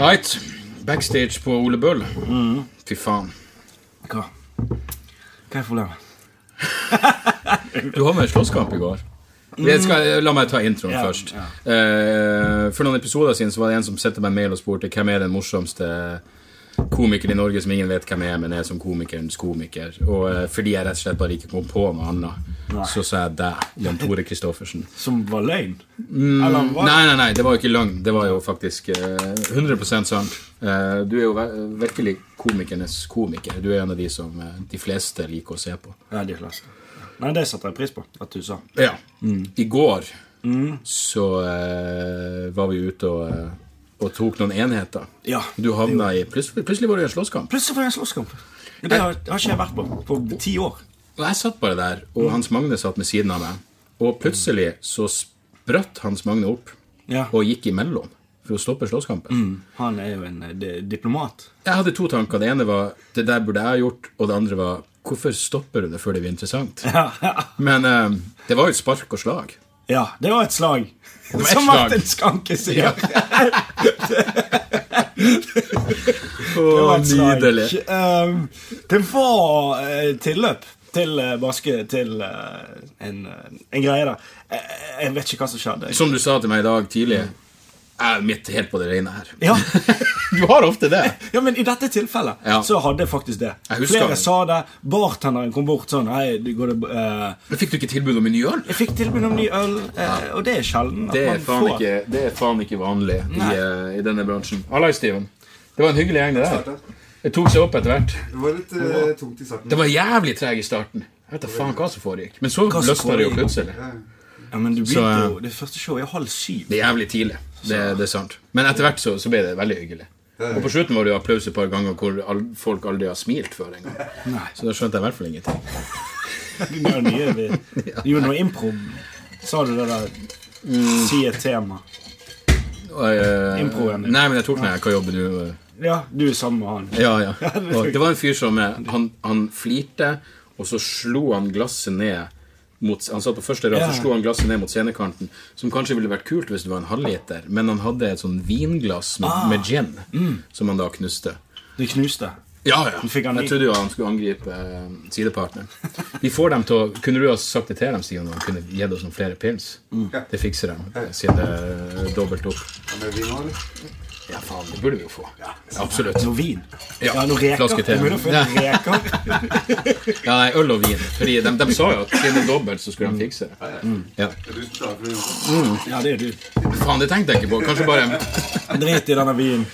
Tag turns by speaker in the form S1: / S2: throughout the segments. S1: Right. Backstage på Ole Bøll. Fy faen.
S2: Hva? Hva er problemet?
S1: Du har med et slåsskamp i går. Jeg skal, la meg ta introen
S2: Ja,
S1: først. Eh, for noen episoder siden Så var det en som sendte meg mail og spurte hvem er den morsomste komikeren i Norge som ingen vet hvem er, men er som komikerens komiker. Og eh, fordi jeg rett og slett bare ikke kom på noe annet, så sa jeg deg, Jan Tore Christoffersen.
S2: Som var løgn? Eller hva?
S1: Nei, nei, nei, det var jo ikke løgn. Det var jo faktisk eh, 100 sant. Eh, du er jo ver- virkelig komikernes komiker. Du er en av de som eh, de fleste liker å se på.
S2: Ja, det er klart. Nei, det satte jeg pris på at du sa.
S1: Ja.
S2: Mm.
S1: I går så eh, var vi ute og, eh, og tok noen enheter.
S2: Ja.
S1: Du havna i plutselig, plutselig var det en slåsskamp.
S2: Plutselig var det en slåsskamp. Ja, Det har, har ikke jeg vært på på ti år.
S1: Og jeg satt bare der,
S2: Mm.
S1: og Hans Magne satt ved siden av meg. Og plutselig så spratt Hans Magne opp
S2: Ja. Mm.
S1: og gikk imellom for å stoppe slåsskampen.
S2: Han er jo en eh, di- diplomat.
S1: Jeg hadde to tanker. Det ene var det der burde jeg ha gjort, og det andre var hvorfor stopper du det før det blir interessant? Men eh, det var jo et spark og slag.
S2: Ja, det var et slag.
S1: var et
S2: Som
S1: slag.
S2: Martin Skanke sier. Det var
S1: Å,
S2: et slag.
S1: nydelig.
S2: Ehm, det var eh, tilløp til eh, Baske til eh, en, eh, en greie der. Jeg, jeg vet ikke hva som skjedde.
S1: Som du sa til meg i dag tidlig, jeg er midt helt på det rene her.
S2: Ja.
S1: Du har ofte det.
S2: ja, men i dette tilfellet
S1: Ja.
S2: så hadde jeg faktisk det.
S1: Jeg husker
S2: Flere
S1: det.
S2: sa det. Bartenderen kom bort sånn Hei, du går det eh,
S1: Men fikk du ikke tilbud om en ny øl?
S2: Jeg fikk tilbud om ny øl, eh, og det er sjelden at
S1: Det er
S2: man
S1: faen
S2: får
S1: ikke, det er faen ikke vanlig i, eh, i denne bransjen. Hallais, Steven. Det var en hyggelig gjeng, det der. Det tok seg opp etter hvert.
S3: Det var litt eh, tungt i starten.
S1: Det var jævlig treg i starten. Jeg vet da faen hva som foregikk. Men så
S2: som
S1: løsna det jo
S2: foregikk?
S1: plutselig.
S2: Ja, men du
S1: Så,
S2: begynte
S1: eh,
S2: jo Det første showet er halv syv.
S1: Det er jævlig tidlig. Det, det er sant. Men etter hvert så, så ble det veldig hyggelig. Og på slutten var det jo applaus et par ganger hvor all, folk aldri har smilt før engang. Så da skjønte jeg i hvert fall ingenting.
S2: Vi gjorde nye- vi gjorde noe improv. Sa du det der
S1: Mm.
S2: Si et tema.
S1: Og, eh,
S2: Improen.
S1: Nei, men jeg tok meg hva jobber du eh,
S2: Ja, du er sammen med han.
S1: Ja, ja.
S2: det er
S1: Og
S2: sjukt.
S1: det var en fyr som eh, Han, han flirte, og så slo han glasset ned mot, Han satt på første rad,
S2: Ja.
S1: så slo han glasset ned mot scenekanten. Som kanskje ville vært kult hvis det var en halvliter, men han hadde et sånn vinglass med,
S2: Ah.
S1: med gin
S2: Mm.
S1: som han da knuste.
S2: Det knuste.
S1: Ja, ja.
S2: fikk han i.
S1: Jeg trodde jo han skulle angripe eh, sidepartneren. Vi får dem til å Kunne du ha sagt det til dem, Stian, og han kunne gitt oss noen flere pils? Det fikser de, siden det er dobbelt opp.
S3: Med vin nå, eller?
S1: Ja, faen, det burde vi jo få. Absolutt.
S2: Noe vin.
S1: Ja,
S2: Ja, noe reker.
S1: flaske til.
S2: Du begynner å finne reker.
S1: Ja, nei, øl og vin. Fordi de, de sa jo at siden det er dobbelt, så
S2: Mm.
S1: skulle de fikse det. Mm. Ja.
S3: Er du klar for å gjøre det?
S2: Ja, det er du.
S1: Faen, det tenkte jeg ikke på. Kanskje bare
S2: Drit i denne vinen.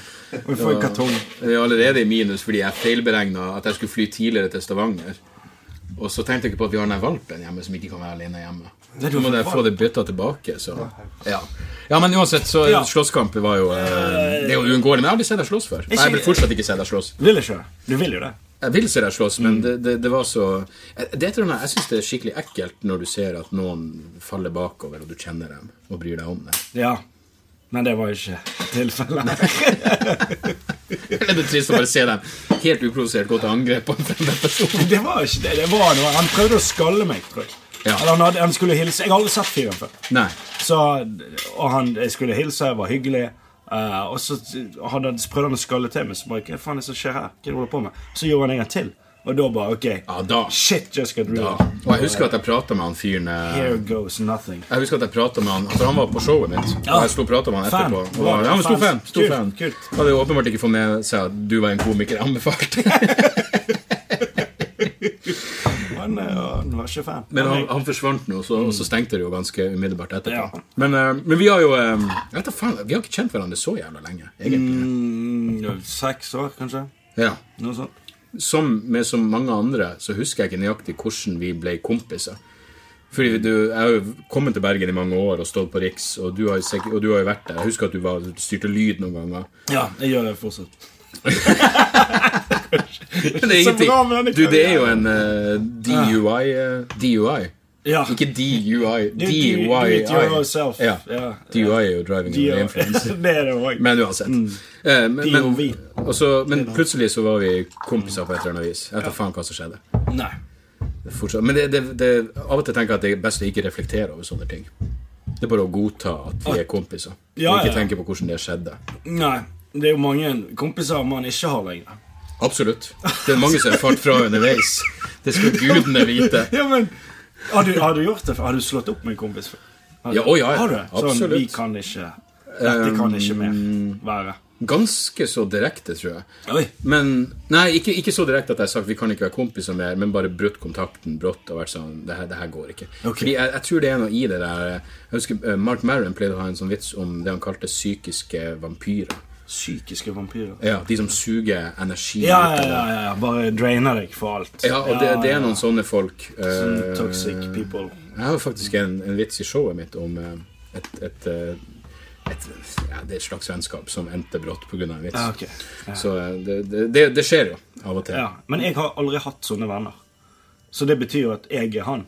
S2: Og vi får en kartong.
S1: Vi er allerede i minus fordi jeg feilberegna at jeg skulle fly tidligere til Stavanger. Og så tenkte jeg ikke på at vi har den her valpen hjemme som ikke kan være alene hjemme.
S2: er
S1: Nå må jeg få det bytta tilbake, så ja. ja, men uansett, så
S2: Ja.
S1: slåsskamp var jo eh, Det er jo uunngåelig. Men jeg har aldri sett deg slåss før. Og jeg vil fortsatt ikke se deg slåss.
S2: Vil ikke det? Du vil jo det.
S1: Jeg vil se deg slåss, men det, det, det var så Eh, Det er et eller annet- Jeg syns det er skikkelig ekkelt når du ser at noen faller bakover, og du kjenner dem og bryr deg om det.
S2: Ja. Men det var jo ikke tilfellet.
S1: Eller det er trist å bare se dem helt uprovosert gå til angrep på en fremmed person.
S2: Det var ikke det. det var noe. Han prøvde å skalle meg, tror jeg.
S1: Ja.
S2: Eller han, hadde, han skulle hilse. Jeg har aldri sett fyren før.
S1: Nei.
S2: Så, og han jeg skulle hilse, jeg var hyggelig. eh, og så hadde, han- så prøvde han å skalle til meg. Så bare, hva faen er det som skjer her? Hva er det du holder på med? Så gjorde han en gang til. Og da bare, ok.
S1: Ja, da.
S2: Shit, Jessica Drew.
S1: Ja. Og jeg husker at jeg prata med han fyren eh,
S2: Here goes nothing.
S1: Jeg husker at jeg pratet med han For han var på showet mitt.
S2: Ja.
S1: Og jeg sto og pratet med han
S2: Fan.
S1: etterpå. Og var, ja, men stor fan. Stor
S2: Kult,
S1: fan.
S2: kult.
S1: Hadde jo åpenbart ikke fått med seg at du var en komiker jeg anbefalte.
S2: Han, eh, han var ikke fan.
S1: Men han, han forsvant nå, så, og så stengte det jo ganske umiddelbart etterpå.
S2: Ja.
S1: Men, eh, men vi har jo eh, jeg vet da faen, Vi har ikke kjent hverandre så jævla lenge, egentlig.
S2: Mm, seks år, kanskje?
S1: Ja.
S2: Noe sånt.
S1: Som med så mange andre så husker jeg ikke nøyaktig hvordan vi ble kompiser. Fordi du, Jeg har jo kommet til Bergen i mange år og stått på Riks, og du har, jo sikkert- og du har jo vært der. Jeg husker at du var, du styrte lyd noen ganger.
S2: Ja, jeg gjør det fortsatt.
S1: Men det er
S2: Så
S1: ingenting.
S2: bra med denne
S1: Du, det er jo en eh, DUI. eh, DUI.
S2: Ja.
S1: Ikke DUI.
S2: Do it- do
S1: DUI.
S2: it yourself.
S1: Ja.
S2: Ja.
S1: DUI er jo driving under influence.
S2: det er det òg.
S1: Men uansett. Eh, men,
S2: DOV.
S1: men, og så- men plutselig så var vi kompiser på et eller annet vis. Jeg vet da faen hva som skjedde.
S2: Nei.
S1: Det er fortsatt- Men det, det, det, av og til tenker jeg at det er best å ikke reflektere over sånne ting. Det er bare å godta at vi er kompiser,
S2: Ja,
S1: og ikke
S2: ja.
S1: tenke på hvordan det skjedde.
S2: Nei. Det er jo mange kompiser man ikke har lenger.
S1: Absolutt. Det er mange som er falt fra underveis. Det skulle gudene vite.
S2: Ja, men Har du, har du gjort det? før? Har du slått opp med en kompis før? Har du-
S1: Ja, å, ja, ja.
S2: Har du det? Sånn,
S1: Absolutt.
S2: vi kan ikke Dette kan ikke mer være.
S1: Ganske så direkte, tror jeg.
S2: Oi.
S1: Men, nei, ikke, ikke så direkte at jeg har sagt vi kan ikke være kompiser mer, men bare brutt kontakten brått og vært sånn Det her, det her går ikke.
S2: Ok.
S1: Fordi jeg, jeg tror det er noe i det der Jeg husker eh, Mark Maron pleide å ha en sånn vits om det han kalte psykiske vampyrer.
S2: Psykiske vampyrer.
S1: Ja, De som suger energi
S2: Ja,
S1: ut
S2: ja,
S1: av deg.
S2: ja, ja. Bare drainer deg for alt.
S1: Ja, og det, det er noen sånne folk.
S2: Sånn
S1: eh,
S2: toxic people.
S1: Jeg har jo faktisk en, en vits i showet mitt om eh, et, et, eh, et, ja, det er et slags vennskap som endte brått pga. en vits.
S2: Ja, Ah, ok.
S1: Så eh, det, det, det, det skjer jo av og til.
S2: Ja. Men jeg har aldri hatt sånne venner. Så det betyr jo at jeg er han.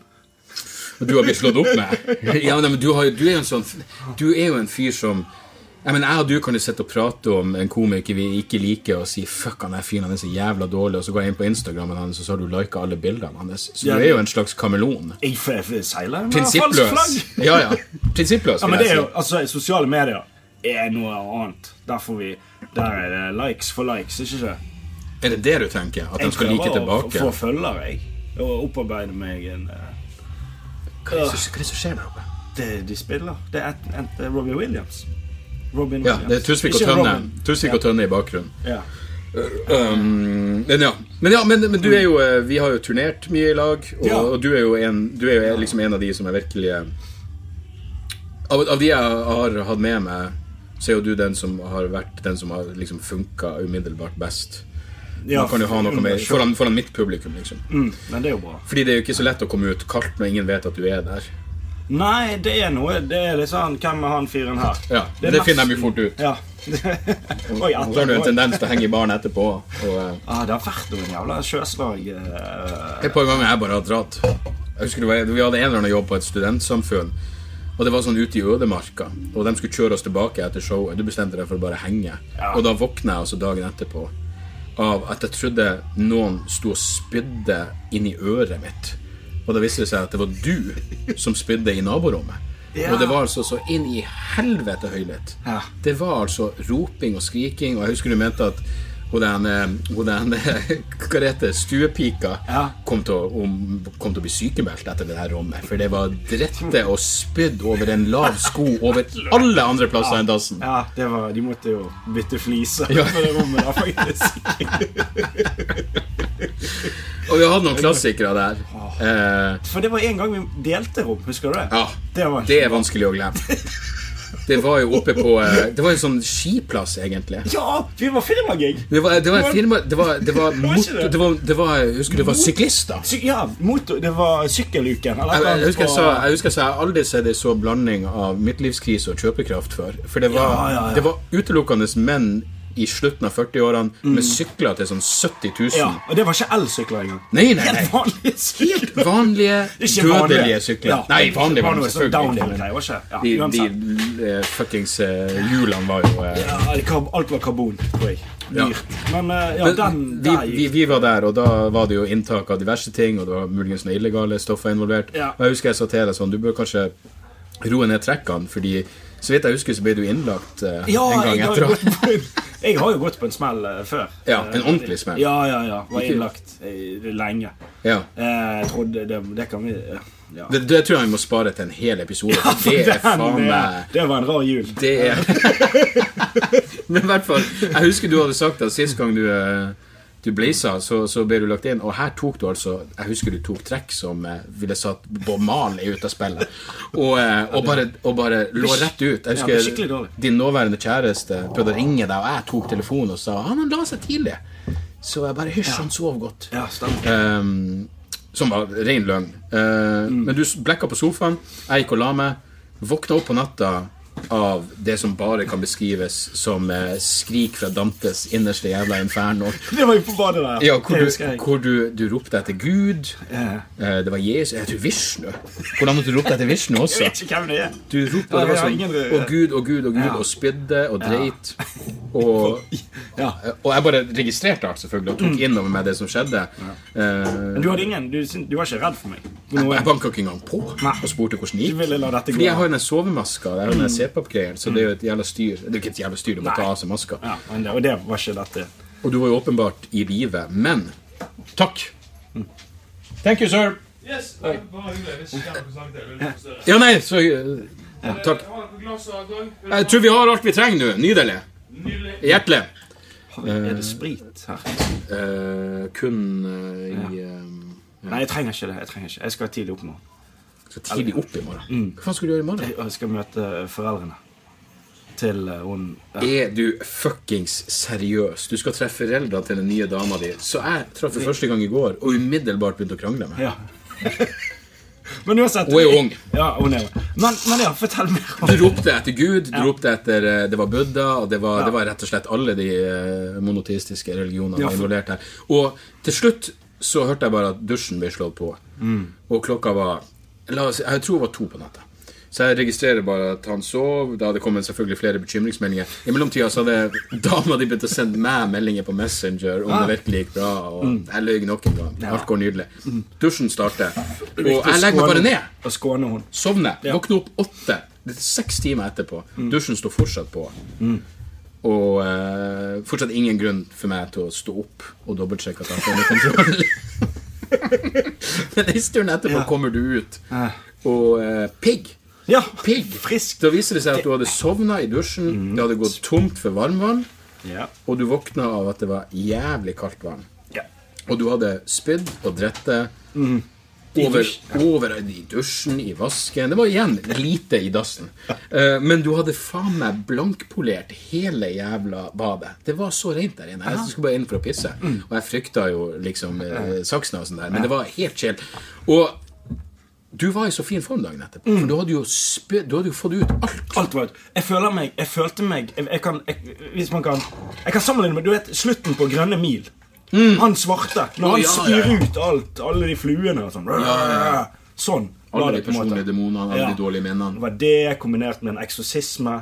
S1: Du har blitt slått opp med. Ja, nei, men du, har, jo- du er jo en sånn Du er jo en fyr som jeg, mener, jeg og du kan jo sitte og prate om en komiker vi ikke liker, og si 'fuck, han er fin, han er så jævla dårlig', og så går jeg inn på Instagrammen hans, og så har du lika alle bildene hans. Så
S2: Ja.
S1: du er jo en slags kameleon.
S2: Jeg f- f- seiler med falskt
S1: Prinsippløs.
S2: flagg.
S1: Ja, ja. Prinsippløs,
S2: Ja,
S1: vil
S2: men det
S1: jeg si.
S2: er jo, altså, sosiale medier er noe annet. Der får vi Der er det likes for likes, ikke det?
S1: Er det det du tenker? At de
S2: Jeg
S1: skal like
S2: prøver å f-
S1: tilbake?
S2: få følgere, jeg. Og opparbeide meg en eh,
S1: Hva er det som- hva er det som skjer der oppe?
S2: det De spiller. Det er et, et, eh, Robbie Williams. Robin
S1: Ja,
S2: Williams.
S1: det er Tusvik og
S2: Ikke
S1: Tønne.
S2: Robin.
S1: Tusvik og Tønne i bakgrunnen.
S2: Ja.
S1: Um, men ja, men, ja men, men du er jo eh, Vi har jo turnert mye i lag, og,
S2: Ja.
S1: og du er jo, en, du er jo liksom en av de som er virkelig eh, av, av de jeg har hatt med meg, så er jo du den som har vært den som har liksom funka umiddelbart best.
S2: Ja,
S1: Man kan jo ha noe med foran, foran mitt publikum, liksom.
S2: Mm, men det er jo bra.
S1: Fordi det er jo ikke så lett å komme ut kaldt når ingen vet at du er der.
S2: Nei, det er noe Det er litt sånn Hvem er han fyren her?
S1: Ja, Det, finner de jo fort ut.
S2: Ja. Oi,
S1: Og så har du en
S2: etter, oi.
S1: tendens til å henge i baren etterpå. Og, eh,
S2: Ah, det har vært noen jævla sjøslag
S1: Et
S2: eh,
S1: par ganger jeg bare har dratt. Jeg husker det var, Vi hadde en eller annen jobb på et studentsamfunn. Og det var sånn ute i ødemarka, og de skulle kjøre oss tilbake etter showet. Du bestemte deg for å bare henge. Og da våkna jeg altså dagen etterpå av at jeg trodde noen sto og spydde inn i øret mitt. Og da viste det seg at det var du som spydde i naborommet. Og det var altså så inn i helvete høylytt.
S2: Ja.
S1: Det var altså roping og skriking, og jeg husker du mente at hun den, eh, hun den eh, hva det heter, stuepika
S2: Ja.
S1: kom, til å, om- kom til å bli sykemeldt etter det her rommet. For det var drette og spydd over en lav sko over alle andre plasser enn dassen.
S2: Ja, det var, de måtte jo bytte fliser
S1: Ja.
S2: på det rommet der, faktisk.
S1: Og vi har hatt noen klassikere der.
S2: Ah.
S1: Eh,
S2: For det var en gang vi delte rom, husker du det?
S1: ja,
S2: Det var
S1: det er vanskelig å glemme. Det var jo oppe på eh, Det var en sånn skiplass, egentlig.
S2: Ja, vi var firmagig!
S1: Det var, det var et firma Det var, det var,
S2: var ikke
S1: mot-
S2: det.
S1: det var, det var jeg Husker det var syklister?
S2: Sy ja, motor, det var sykkeluken.
S1: Jeg,
S2: Eller et eller
S1: jeg,
S2: annet
S1: husker jeg,
S2: på-
S1: sa, jeg husker jeg sa jeg har aldri sett en så blanding av midtlivskrise og kjøpekraft før. For det var,
S2: Ja, ja, ja.
S1: Det var utelukkende menn i slutten av 40-årene med sykler til sånn 70 000.
S2: Mm. Ja, og det var ikke elsykler engang.
S1: Nei, nei,
S2: Helt
S1: nei.
S2: vanlige sykler.
S1: Vanlige,
S2: Ikke
S1: dødelige
S2: vanlige.
S1: sykler.
S2: Ja,
S1: Nei,
S2: det var
S1: vanlige var det
S2: noe sånn
S1: selvfølgelig ikke.
S2: downhill-greier, var ikke det? Ja,
S1: men De,
S2: uansett.
S1: de eh, fuckings eh, hjulene var jo eh,
S2: Ja, det kar- alt var karbon, tror jeg.
S1: Ja.
S2: Dyrt. Men eh, ja,
S1: Men
S2: den
S1: vi,
S2: der
S1: vi,
S2: gikk
S1: vi var der, og da var det jo inntak av diverse ting, og det var muligens noen illegale stoffer involvert.
S2: Ja.
S1: Og jeg husker jeg sa til deg sånn, du bør kanskje roe ned trekkene, fordi så vidt jeg husker, så ble du innlagt eh,
S2: ja,
S1: en gang
S2: jeg har,
S1: etter. å-
S2: jo gått på en, jeg har jo gått på en smell eh, før.
S1: Ja,
S2: Eh,
S1: en ordentlig smell.
S2: Ja, ja, ja. Var
S1: Ikke-
S2: innlagt eh, lenge.
S1: Ja.
S2: Eh, Jeg trodde det, det kan vi eh, ja.
S1: Det, det tror jeg vi må spare til en hel episode, for det er
S2: Den,
S1: faen
S2: eh,
S1: meg
S2: Det var en rar jul.
S1: Det er Men i hvert fall, jeg husker du hadde sagt at sist gang du eh, du blaza, så, så ble du lagt inn. Og her tok du altså Jeg husker du tok trekk som eh, ville satt Bob Marley ut av spillet. Og, eh, og, bare, og bare lå rett ut.
S2: Ja, det
S1: Jeg
S2: er skikkelig
S1: husker
S2: dårlig.
S1: din nåværende kjæreste prøvde å ringe deg, og jeg tok telefonen og sa han han la seg tidlig. Så jeg bare Hysj, han sov godt.
S2: Ja, stemmer.
S1: Ehm, som var ren løgn. Eh,
S2: Mm.
S1: Men du blekka på sofaen, jeg gikk og la meg. Våkna opp på natta av det som bare kan beskrives som eh, skrik fra Dantes innerste jævla inferno.
S2: Det var jo på badet der.
S1: Ja, hvor
S2: Det
S1: du,
S2: husker jeg.
S1: hvor du, du ropte etter Gud.
S2: Ja.
S1: Eh, Det var Jesus Jeg tror Vishnu. Hvordan måtte du rope etter Vishnu
S2: Jeg
S1: også?
S2: vet ikke hvem det er.
S1: Du ropte
S2: Ja,
S1: og det var
S2: ja,
S1: sånn
S2: ingen-
S1: Og Gud og Gud og Gud,
S2: Ja.
S1: og spydde og dreit. Og,
S2: Ja.
S1: og jeg bare registrerte alt, selvfølgelig, og
S2: Mm.
S1: tok innover meg det som skjedde. Eh,
S2: Men du hadde ingen Du, syn- du var ikke redd for meg? For
S1: Jeg
S2: noe.
S1: jeg banka ikke engang på
S2: Nei.
S1: og spurte hvordan det
S2: Du
S1: gikk.
S2: ville la dette gå. Mm.
S1: Fordi jeg har jo den sovemaska og jeg har jo den CPAP-greien, så det er jo et jævla styr. Det er jo ikke et jævla styr, du må
S2: Nei.
S1: ta av seg maska.
S2: Ja, men det, og det var ikke dette.
S1: Og du var jo åpenbart i live, men takk.
S2: Mm.
S1: Thank you, sir.
S4: Yes, det er bare hyggelig. Hvis ikke jeg får snakke til, vil jeg forstyrre.
S1: Ja, nei, så eh, Takk.
S4: Har dere glass av gang?
S1: Jeg tror vi har alt vi trenger nå. Nydelig.
S4: Nydelig.
S1: Hjertelig.
S2: Er det sprit her?
S1: Eh, kun eh, i eh,
S2: Nei, jeg trenger ikke det. Jeg trenger ikke. Jeg skal tidlig opp nå.
S1: Så tidlig opp i morgen.
S2: Mm.
S1: Hva faen skal du gjøre i morgen?
S2: Jeg jeg skal møte foreldrene til eh, hun ja.
S1: Er du fuckings seriøs? Du skal treffe foreldrene til den nye dama di. Så jeg traff for første gang i går og umiddelbart begynte å krangle med
S2: ja. Men uansett
S1: Hun er jo ung.
S2: Ja, hun er jo men, men ja, fortell mer om
S1: Du ropte etter Gud, du ropte etter eh, Det var Buddha, og det var, det var rett og slett alle de eh, monoteistiske religionene
S2: Ja,
S1: var
S2: for-
S1: involvert her. Og til slutt så hørte jeg bare at dusjen ble slått på. Og klokka var la oss, Jeg tror det var to på natta. Så jeg registrerer bare at han sov. Da hadde kommet selvfølgelig flere bekymringsmeldinger. I mellomtida så hadde dama di begynt å sende meg meldinger på Messenger om det virkelig gikk bra. Og jeg løy nok en gang. Alt går nydelig. Dusjen starter. Og jeg legger meg bare ned.
S2: Og skåne hun.
S1: Sovne.
S2: Ja. Mm.
S1: Våkne opp åtte. Det er seks timer etterpå. Dusjen står fortsatt på. Og eh, fortsatt ingen grunn for meg til å stå opp og dobbeltsjekke at jeg har fått kontroll. Men en stund etterpå kommer du ut, og eh, pigg.
S2: Ja,
S1: Pigg.
S2: frisk. Mm.
S1: Da viser det seg at du hadde sovna i dusjen. Det hadde gått tomt for varmvann,
S2: Ja.
S1: og du våkna av at det var jævlig kaldt vann.
S2: ja.
S1: Og du hadde spydd og drett det
S2: Mm.
S1: over, over i dusjen, i vasken Det var igjen lite i dassen. Eh, men du hadde faen meg blankpolert hele jævla badet. Det var så rent der inne. Jeg skulle bare inn for å pisse.
S2: Mm.
S1: Og jeg frykta jo liksom eh, saksnasen der, men det var helt chill. Og du var i så fin form dagen etterpå.
S2: Mm.
S1: For du hadde jo, spy, du hadde jo fått ut alt.
S2: Alt var ut. Jeg føler meg Jeg følte meg Jeg, jeg kan jeg, Hvis man kan Jeg kan sammenligne med Du vet slutten på Grønne mil? Han svarte. Når
S1: Mm. Å,
S2: han
S1: ja,
S2: syr
S1: ja, ja.
S2: ut alt. Alle de fluene og sånn. Sånn. var
S1: Alle
S2: det
S1: de
S2: på en måte.
S1: personlige demonene, alle
S2: Ja.
S1: de dårlige
S2: Det
S1: minnene.
S2: var det kombinert med en eksorsisme.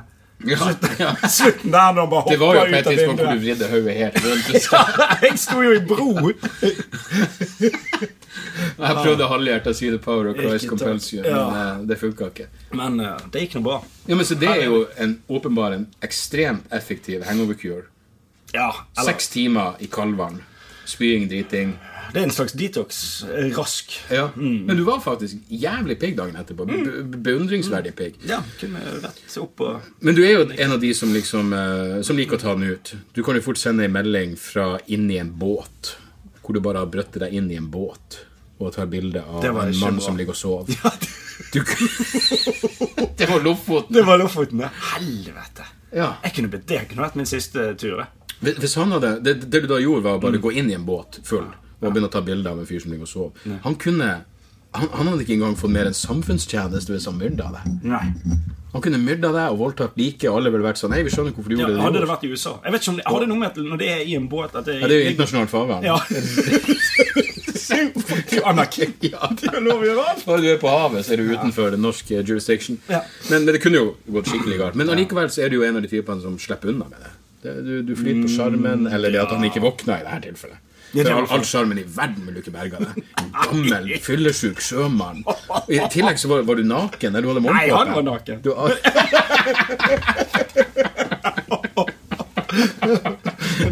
S1: Ja, ja.
S2: Slutten der når han bare
S1: Det var jo
S2: hoppa
S1: på
S2: ut
S1: et
S2: av
S1: tidspunkt hvor du vridde
S2: vinduet.
S1: hodet helt rundt.
S2: Jeg sto jo i bro!
S1: Jeg prøvde halvhjertet å si The Power of Christ
S2: Ikke takk.
S1: Compulsion, men
S2: Ja.
S1: eh, det funka ikke.
S2: Men eh, det gikk nå bra.
S1: Ja, men så Det er jo en åpenbar en ekstremt effektiv hangover cure.
S2: Ja, eller,
S1: Seks timer i kaldvann. Spying, driting.
S2: Det er en slags detox. eh, Rask.
S1: Ja. Men du var faktisk jævlig pigg dagen etterpå.
S2: Mm.
S1: Be beundringsverdig pigg.
S2: Ja, kunne rett opp og
S1: Men du er jo en av de som liksom eh, Som liker å ta den ut. Du kan jo fort sende en melding fra inni en båt, hvor du bare har brøttet deg inn i en båt og tar bilde av
S2: Det
S1: en
S2: var
S1: mann
S2: ikke bra.
S1: som ligger og sover. Du, det var Lofoten.
S2: Det var Lofoten, det. Helvete.
S1: Ja.
S2: Jeg kunne blitt det. kunne vært min siste tur. det.
S1: Hvis hvis han hadde, det, det du da gjorde, var å
S2: Mm.
S1: bare gå inn i en båt full og begynne å ta bilder av en fyr som ligger og sover. Han kunne han, han hadde ikke engang fått mer enn samfunnstjeneste hvis han myrda deg.
S2: Nei.
S1: Han kunne myrda deg og voldtatt like, og alle ville vært sånn Hei, vi skjønner hvorfor du
S2: Ja,
S1: gjorde det.
S2: hadde
S1: du
S2: det
S1: gjorde.
S2: vært i USA Jeg vet ikke om det, Har det noe med at når det er i en båt at det
S1: Ja, det er jo internasjonalt farvann.
S2: Ja. Anarki.
S1: Ja, det-
S2: Det er lov å gjøre alt.
S1: Bare du er på havet, så er du utenfor den norske jurisdiction.
S2: Ja.
S1: Men, men det kunne jo gått skikkelig galt. Men allikevel så er du jo en av de typene som slipper unna med det. det du, du flyter på sjarmen, eller det at han ikke våkna i det her tilfellet.
S2: Ja, Mm, det
S1: For
S2: var
S1: all all sjarmen i verden vil du ikke berge deg. En Gammel, fyllesyk sjømann. Og I tillegg så var, var du naken. Eller du hadde
S2: Nei,
S1: morgenkåpe.
S2: han var naken.
S1: Du,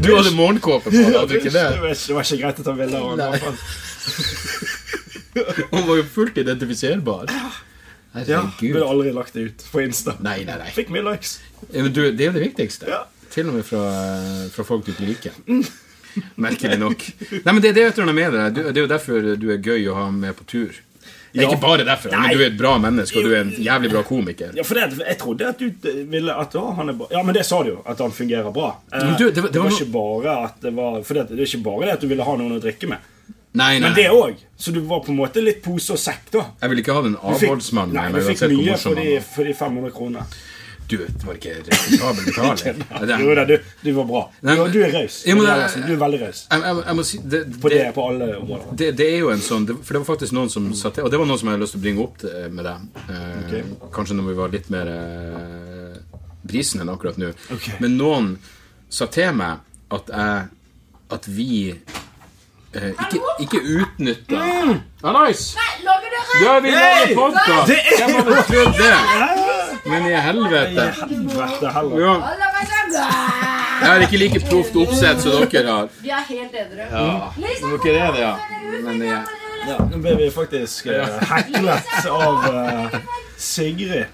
S1: du hadde morgenkåpe på deg, hadde du ikke det?
S2: var ikke- det var ikke greit å ta bilder av
S1: Nei.
S2: ham.
S1: Han var jo fullt identifiserbar.
S2: Ja,
S1: Herregud.
S2: ville aldri lagt det ut på Insta.
S1: Nei, nei, nei.
S2: Fikk mye likes.
S1: Ja, men du, det er jo det viktigste.
S2: Ja.
S1: Til og med fra, fra folk du ikke liker. Merkelig nok. Nei, men det, det er jo et eller annet med det. Du, det er jo derfor du er gøy å ha med på tur. Det er
S2: Ja.
S1: Ikke bare derfor, men du er et bra menneske, og du er en jævlig bra komiker.
S2: Ja, for det, at- Jeg trodde at du eh, ville at å, han er bra. Ja, men det sa du jo. At han fungerer bra. Eh,
S1: Men du, det var- det var
S2: ikke bare at det var For det, det er ikke bare det at du ville ha noen å drikke med.
S1: Nei, nei.
S2: Men det òg. Så du var på en måte litt pose og sekk, da.
S1: Jeg vil ikke ha den
S2: Du fikk-
S1: avholdsmannen
S2: Nei,
S1: med
S2: du
S1: meg,
S2: fikk
S1: uansett hvor
S2: mye for
S1: morsom han
S2: de,
S1: var.
S2: for de 500 kronene.
S1: Du, det var ikke respektabel betaling. Det er-
S2: Jo da, du, du var bra.
S1: Nei,
S2: Du,
S1: men-
S2: du er raus.
S1: Ja, men
S2: Du er
S1: det-
S2: raus. Du er veldig raus.
S1: Jeg, jeg, jeg må si det,
S2: På det,
S1: det,
S2: på alle områder.
S1: det, det er jo en sånn det, For det var faktisk noen som sa til Og det var noe som jeg hadde lyst til å bringe opp til, med deg. Eh, Kanskje når vi var litt mer eh, brisende enn akkurat nå.
S2: Ok.
S1: Men noen sa til meg at jeg At vi eh, ikke, ikke utnytta Hallais! Du er vi
S2: Hey!
S1: lager podcast!
S2: Det er
S1: Hvem hadde trodd det? Men i helvete!
S2: Helvete heller.
S1: Ja. Jeg har ikke like proft oppsett som dere har.
S5: Vi er helt edre.
S1: Ja. Dere er det, ja. Men jeg,
S2: Ja, nå ble vi faktisk eh, heklet av eh, Sigrid.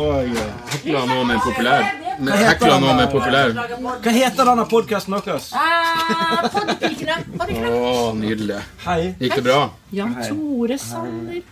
S2: Og eh,
S1: Hekla noe med populær men Hekla noe med populær
S2: Hva heter denne podkasten deres?
S1: Å, nydelig
S2: Hei.
S1: Gikk det bra?
S6: Jan Tore Sander.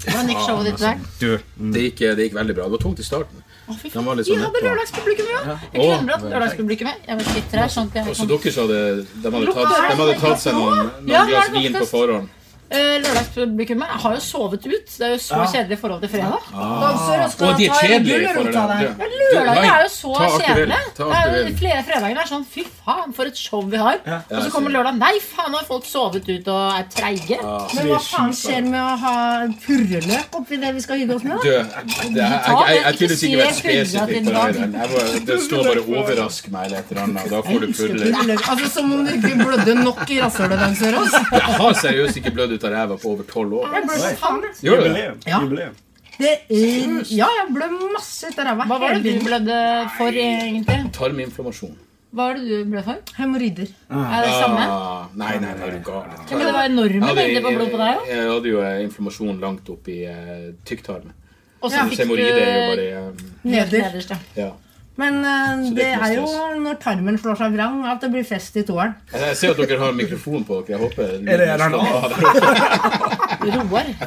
S6: Hvordan gikk showet ditt der?
S1: Du, det gikk, det gikk veldig bra Det var tungt i starten Den var litt
S6: Vi
S1: sånn
S6: hadde
S1: nedpå.
S6: lørdagspublikum, ja. Jeg
S1: Å.
S6: glemmer at lørdagspublikum er Jeg må sitte her sånn at jeg
S1: Også
S6: kan
S1: dere så hadde De hadde tatt, de hadde tatt seg noen,
S6: Ja,
S1: noen glass vin på forhånd
S6: Eh, Lørdagspublikummet har jo sovet ut. Det er jo så kjedelig i forhold til fredag.
S1: Ah. Og de er kjedelige for
S6: Ja,
S1: det
S6: Lørdagen er jo så
S1: ta akkurat
S6: kjedelig.
S1: vel, ta
S6: Det er jo
S1: akkurat vel.
S6: Flere fredager er sånn Fy faen, for et show vi har. Og så kommer lørdag. Nei, faen, nå har folk sovet ut og er treige.
S1: Ah.
S2: Men hva faen
S6: skjer med å ha purreløp oppi det vi skal hygge oss med?
S1: Du, jeg, jeg, jeg, jeg, jeg kunne sikkert vært spesifikk på det her. Jeg bare- Det står bare 'overrask meg' eller et eller annet. og Da får du fulle
S6: Altså, Som om du ikke blødde nok i rasshølet deres, Sørås.
S1: Jeg har seriøst ikke blødd ut av ræva på over tolv år. Gjør du det?
S2: Jubileum.
S6: Ja.
S2: Jubileum.
S6: Ja, jeg blødde masse ut av ræva. Hva var det du blødde for, egentlig?
S1: Tarminflammasjon.
S6: Hva var det du blødde for? Hemoroider. Er det samme?
S1: Ah, nei, nei, nei, er du gal.
S6: Ja, Men det var enorme mengder på blod på deg
S1: jeg,
S6: òg.
S1: jeg hadde jo eh, inflammasjon lankt opp i eh, tykktarmen.
S6: Og så
S1: Mens
S6: fikk du
S1: Hemoroider er jo bare eh,
S6: nederst. ja.
S1: Ja.
S6: Men eh,
S1: Så det er ikke noe det er jo
S6: når tarmen slår seg vrang, at det blir fest i toeren.
S1: Jeg ser at dere har mikrofon på dere. Jeg håper
S2: Er det- er det noe?
S6: Roar,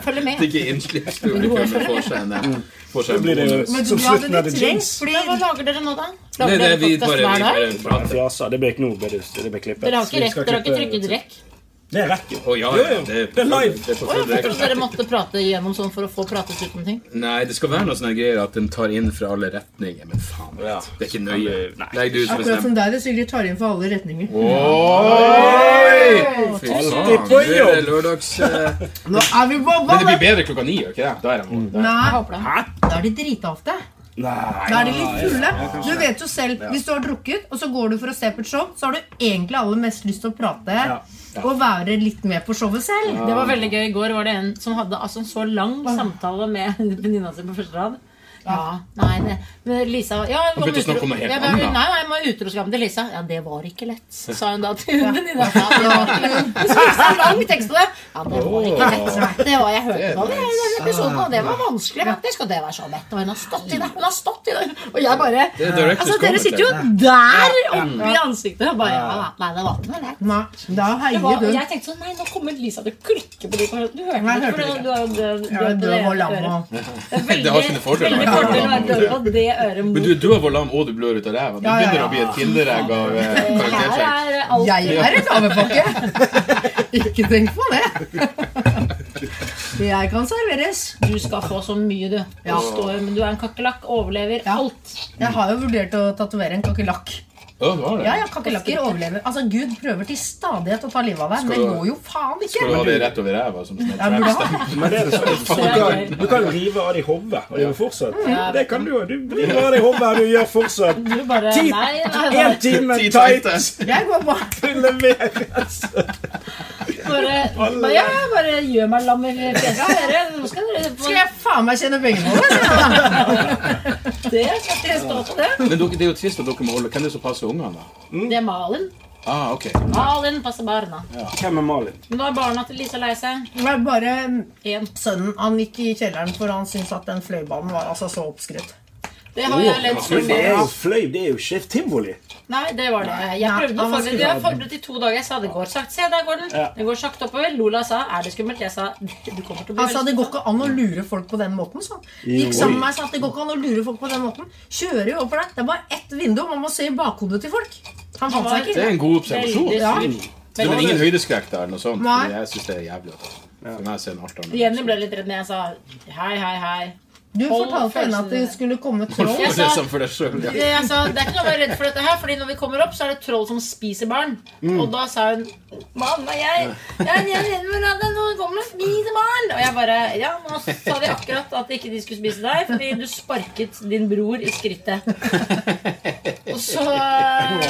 S6: følg med.
S1: at ikke innslippspublikummet får seg en eh, får seg
S2: Da
S1: en
S2: Mm. blir det jo
S1: bonus.
S2: som slutten av The Jinx.
S6: Men Hva lager dere nå, da?
S1: Nei,
S6: Lager
S1: det,
S6: dere
S1: vi
S6: podcast
S1: bare, vi
S6: hver dag?
S1: bare prater.
S2: Fjasa. Det ble ikke noe, det ble- det ble klippet.
S6: Dere har ikke
S2: Vi
S6: rett,
S2: skal
S6: dere har ikke
S2: klippe-
S6: trykket rekk?
S2: Det er rekk, jo.
S1: Å, ja,
S2: Jo,
S1: ja,
S2: jo.
S1: det, er på
S2: Det er
S1: full-
S2: live.
S1: Det er på
S6: Å,
S1: full
S6: jeg trodde
S1: rekke.
S6: dere måtte prate igjennom sånn for å få pratet ut om ting.
S1: Nei, det skal være noe sånne greier at den tar inn fra alle retninger. Men faen, vet du, det er ikke nøye. Legg det ut som en stem.
S6: deg, det Sigrid tar inn for alle retninger.
S1: Oi! Fy faen,
S2: på
S1: du er
S2: jobb.
S1: lørdags... eh,
S6: Nå er vi på
S1: Men det blir bedre klokka ni, gjør ikke det? Da er jeg våken. Da er jeg-
S6: Nei, da er de drita ofte. Da er de litt fulle. Du vet jo selv, hvis du har drukket, og så går du for å se på et show, så har du egentlig aller mest lyst til å prate og være litt med på showet selv. Det var veldig gøy. I går var det en som hadde altså, en så lang samtale med venninna si på første rad. Ja, nei, det, men Lisa ja, jeg kom
S1: begynte å
S6: utro-
S1: snakke om noe helt
S6: Ja, men-
S1: annet.
S6: Nei, nei, jeg må ha utroskapen til Lisa. Ja, det var ikke lett, sa hun da til venninna. Ja, det var ikke lett. Men så fikk hun lang tekst på det. Ja, det var ikke lett. Det var jeg hørte
S1: Det er
S6: på det i den episoden, og det var vanskelig faktisk. Og det var så lett. Og hun har stått i det. Hun har stått i det. Og jeg bare
S1: Det er director's
S6: Altså, dere
S1: commentary.
S6: sitter jo der oppe i ansiktet og bare ja, Nei, det var ikke noe lett.
S7: Da
S6: Det
S7: heier
S6: var,
S7: du.
S6: og jeg tenkte sånn Nei, nå kommer Lisa til å klikke på de Du hørte
S7: Nei,
S6: det,
S7: jeg hørte
S6: for
S7: det ikke.
S6: du har jo død
S7: Ja, du er vår lam
S6: øret.
S7: og-
S6: Det er veldig-
S1: Det har sine fordeler.
S6: Veldig fordel å være døv på det øret
S1: Men
S6: mot
S1: du, du er vår lam, og du blør ut av ræva. Du
S7: ja,
S1: begynner
S7: ja.
S1: å bli et kinderegg av eh,
S6: Her
S1: karaktersjekk.
S6: er alt
S7: Jeg er et gavepakke. Ikke tenk på det. Jeg kan serveres.
S6: Du skal få så mye, du. Du, står, men du er en kakerlakk, overlever
S7: Ja.
S6: alt.
S7: Jeg har jo vurdert å tatovere en kakerlakk.
S1: Å, du har
S7: Ja,
S1: det?
S7: ja, kakerlakker overlever. Altså, Gud prøver til stadighet å ta livet av deg, men
S1: Skal
S7: det
S1: du-
S7: går jo faen ikke.
S1: Skal du ha det rett over ræva? Som sånn
S7: Jeg
S1: trap
S7: burde ha
S1: stamp?
S7: det.
S2: Men det er det sånn. Du kan, du kan rive av deg hodet, og det gjør fortsatt. Det kan du jo. Du river av deg hodet, og du gjør fortsatt.
S6: Du bare
S2: Ti-
S6: Nei, nei,
S2: Én time tight
S7: Jeg går bare
S2: leveres.
S6: bare, bare, ja, ja, bare gjør meg lam i fjeset. dere. Nå skal dere få
S7: Skal jeg faen meg tjene penger på det? sier jeg da.
S6: det. Skal dere stå på det?
S1: Men dere, det er jo trist at dere må holde Hvem er det som passer ungene, da?
S6: Det er Malin.
S1: Ah, ok.
S6: Malin passer barna.
S2: Hvem er Malin?
S6: Men nå er barna til Lisa lei seg.
S7: Det var bare
S6: Én.
S7: sønnen. Han gikk i kjelleren, for han syntes at den fløibanen var altså så oppskrytt. Det har jeg ledd for.
S2: Det er
S7: før.
S2: jo fløy, det er jo ikke tivoli.
S7: Nei, det var det. Jeg prøvde å
S2: han
S7: forberede
S2: skulle
S7: Jeg
S2: ta
S7: har
S2: den.
S7: forberedt i to dager. Jeg sa det går sakte. Se, der går den.
S2: Ja.
S7: Den går sakte oppover. Lola sa er det skummelt. Jeg sa du kommer til å bli
S6: Han sa det går ikke an å lure folk på den måten. Sånn. Gikk sammen med meg og sa at det går ikke an å lure folk på den måten. Kjører jo oppover der. Det er bare ett vindu, man må se i bakhodet til folk. Han fant seg
S1: Det
S6: ikke.
S1: er en god observasjon.
S7: veldig
S6: Ja.
S7: sur.
S1: Så det er
S7: Veldig
S1: ingen høydeskrekk der, eller noe sånt.
S6: Nei.
S1: Men jeg syns det er jævlig. At, for meg ser en alt annet.
S7: Jenny ble litt redd når jeg sa hei, hei, hei.
S6: Du
S7: Hold
S6: fortalte henne
S7: følelsen
S6: at det
S7: din.
S6: skulle komme troll.
S7: Jeg
S1: Det er
S7: sa
S1: sånn for deg selv, ja.
S7: Det, jeg sa, det er ikke noe å være redd for dette her, Fordi når vi kommer opp, så er det troll som spiser barn.
S1: Mm.
S7: Og da sa hun Mamma, jeg, jeg er redd for at det nå kommer og spiser barn. Og jeg bare Ja, nå sa de akkurat at ikke de skulle spise deg, fordi du sparket din bror i skrittet. Og så
S6: Hun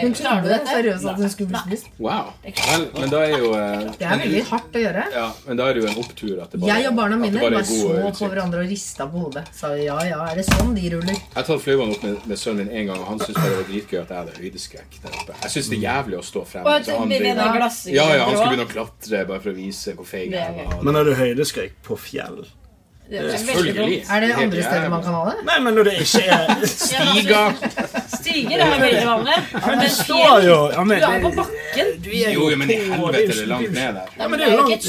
S7: Hun klarer du
S6: trodde
S7: dette?
S6: seriøst at hun skulle bli spist.
S1: Wow. Vel, men da er jo eh,
S6: Det er veldig hardt å gjøre.
S1: ja, men da er det jo en opptur at det bare,
S6: Jeg og barna
S1: at det
S6: mine
S1: bare liksom.
S6: bare
S1: er god
S6: så på
S1: utsikt.
S6: hverandre og rista på hodet. Sa ja, ja, er det sånn de ruller?
S1: Jeg har tatt flyvene opp med, med sønnen min en gang, og han syntes bare det var dritgøy at jeg hadde høydeskrekk der oppe. Jeg syns det
S2: Mm.
S1: er jævlig å stå frem.
S7: Og at
S1: så han
S7: vi
S1: driver-
S7: vinner glass-
S1: ja, ja, han skulle begynne å klatre bare for å vise hvor feig
S7: Det er
S1: jeg var.
S2: Men har du høydeskrekk på fjell?
S7: Det er veldig
S1: Selvfølgelig.
S7: dumt. altså,
S6: Er det
S1: Helt
S6: andre steder man
S1: jævlig.
S6: kan ha det?
S2: Nei, men når det ikke er
S1: Stiga!
S7: Stiger er veldig vanlig. Men
S2: står jo ja, men,
S7: Du er jo på
S2: det-
S7: bakken.
S2: du er
S1: Jo, jo, men i
S2: på-
S1: helvete,
S2: jo
S1: det er langt ned der.
S2: Ja,
S7: Det
S2: men det er
S7: er
S2: jo
S7: jo ikke et
S2: langt.